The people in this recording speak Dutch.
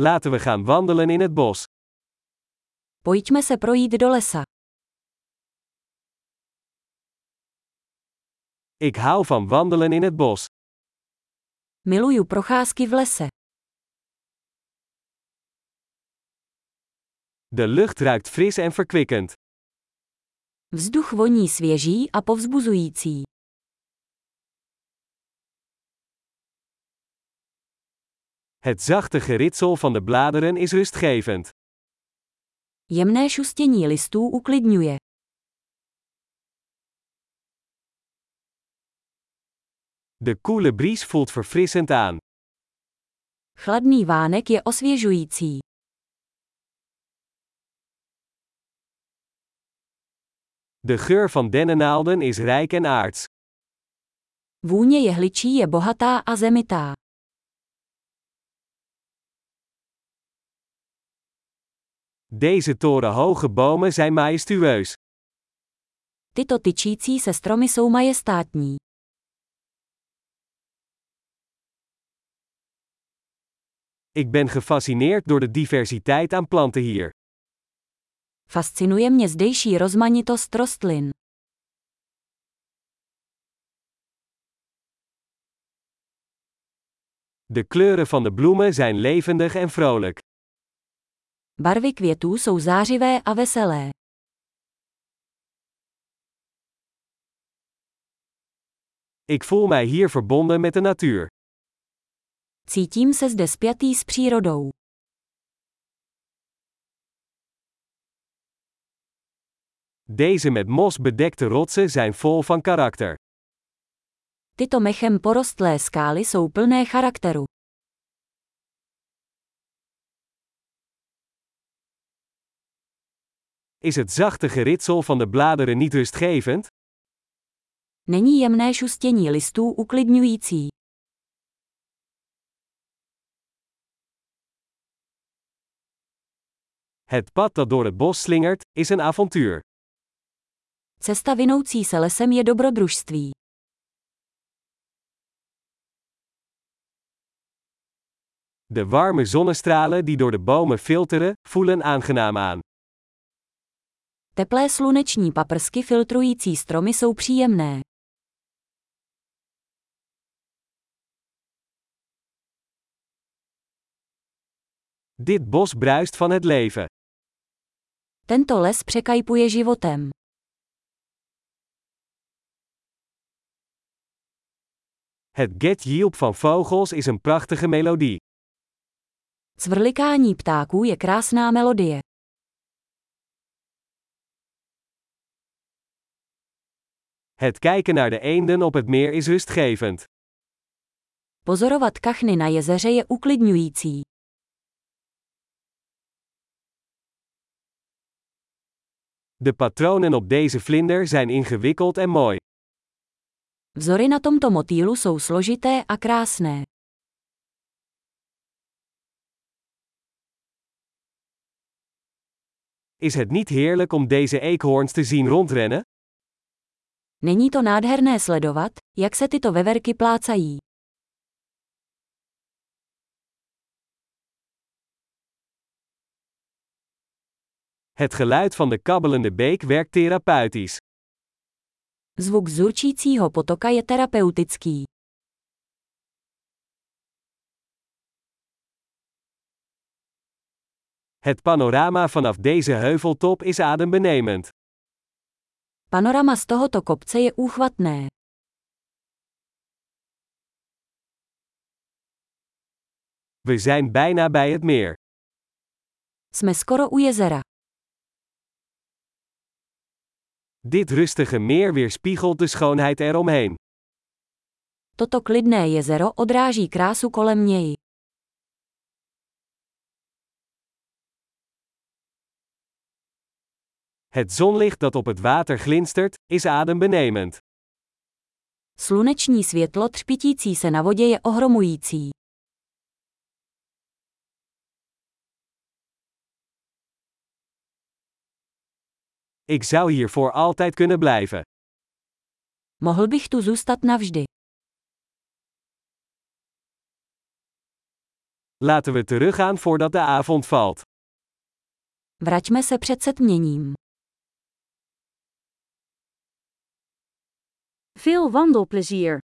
Laten we gaan wandelen in het bos. Pojďme se projít do lesa. Ik hou van wandelen in het bos. Miluju procházky v lese. De lucht ruikt fris en verkwikkend. Vzduch voní svěží a povzbuzující. Het zachte geritsel van de bladeren is rustgevend. Jemné šustění listů uklidňuje. De koele bries voelt verfrissend aan. Chladný vánek je osvěžující. De geur van dennennaalden is rijk en aards. Vůně jehličí je bohatá a zemitá. Deze torenhoge bomen zijn majestueus. Tyto tyčící se stromy jsou majestátní. Ik ben gefascineerd door de diversiteit aan planten hier. Fascinuje mě zdejší rozmanitost rostlin. De kleuren van de bloemen zijn levendig en vrolijk. Barvy květů jsou zářivé a veselé. Ik voel mij hier verbonden met de natuur. Cítím se zde spjatý s přírodou. Deze met mos bedekte rotsen zijn vol van karakter. Tyto mechem porostlé skály jsou plné charakteru. Is het zachte geritsel van de bladeren niet rustgevend? Není jemné šustění listů uklidňující. Het pad dat door het bos slingert, is een avontuur. Cesta vinoucí se lesem je dobrodružství. De warme zonnestralen die door de bomen filteren, voelen aangenaam aan. Teplé sluneční paprsky filtrující stromy jsou příjemné. Dit bos bruist van het leven. Tento les překajpuje životem. Het getjielp van vogels is een prachtige melodie. Cvrlikání ptáků je krásná melodie. Het kijken naar de eenden op het meer is rustgevend. Pozorovat kachny na jezeře je uklidňující. De patronen op deze vlinder zijn ingewikkeld en mooi. Vzory na tomto motýlu jsou složité a krásné. Is het niet heerlijk om deze eekhoorns te zien rondrennen? Není to nádherné sledovat, jak se tyto veverky plácají. Het geluid van de kabbelende beek werkt therapeutisch. Zvuk zurčícího potoka je terapeutický. Het panorama vanaf deze heuveltop is adembenemend. Panorama z tohoto kopce je úchvatné. We zijn bijna bij het meer. Jsme skoro u jezera. Dit rustige meer weerspiegelt de schoonheid eromheen. Toto klidné jezero odráží krásu kolem něj. Het zonlicht dat op het water glinstert, is adembenemend. Sluneční světlo třpitící se na vodě je ohromující. Ik zou hier voor altijd kunnen blijven. Mohl bych tu zůstat navždy. Laten we teruggaan voordat de avond valt. Vraťme se před setměním. Veel wandelplezier!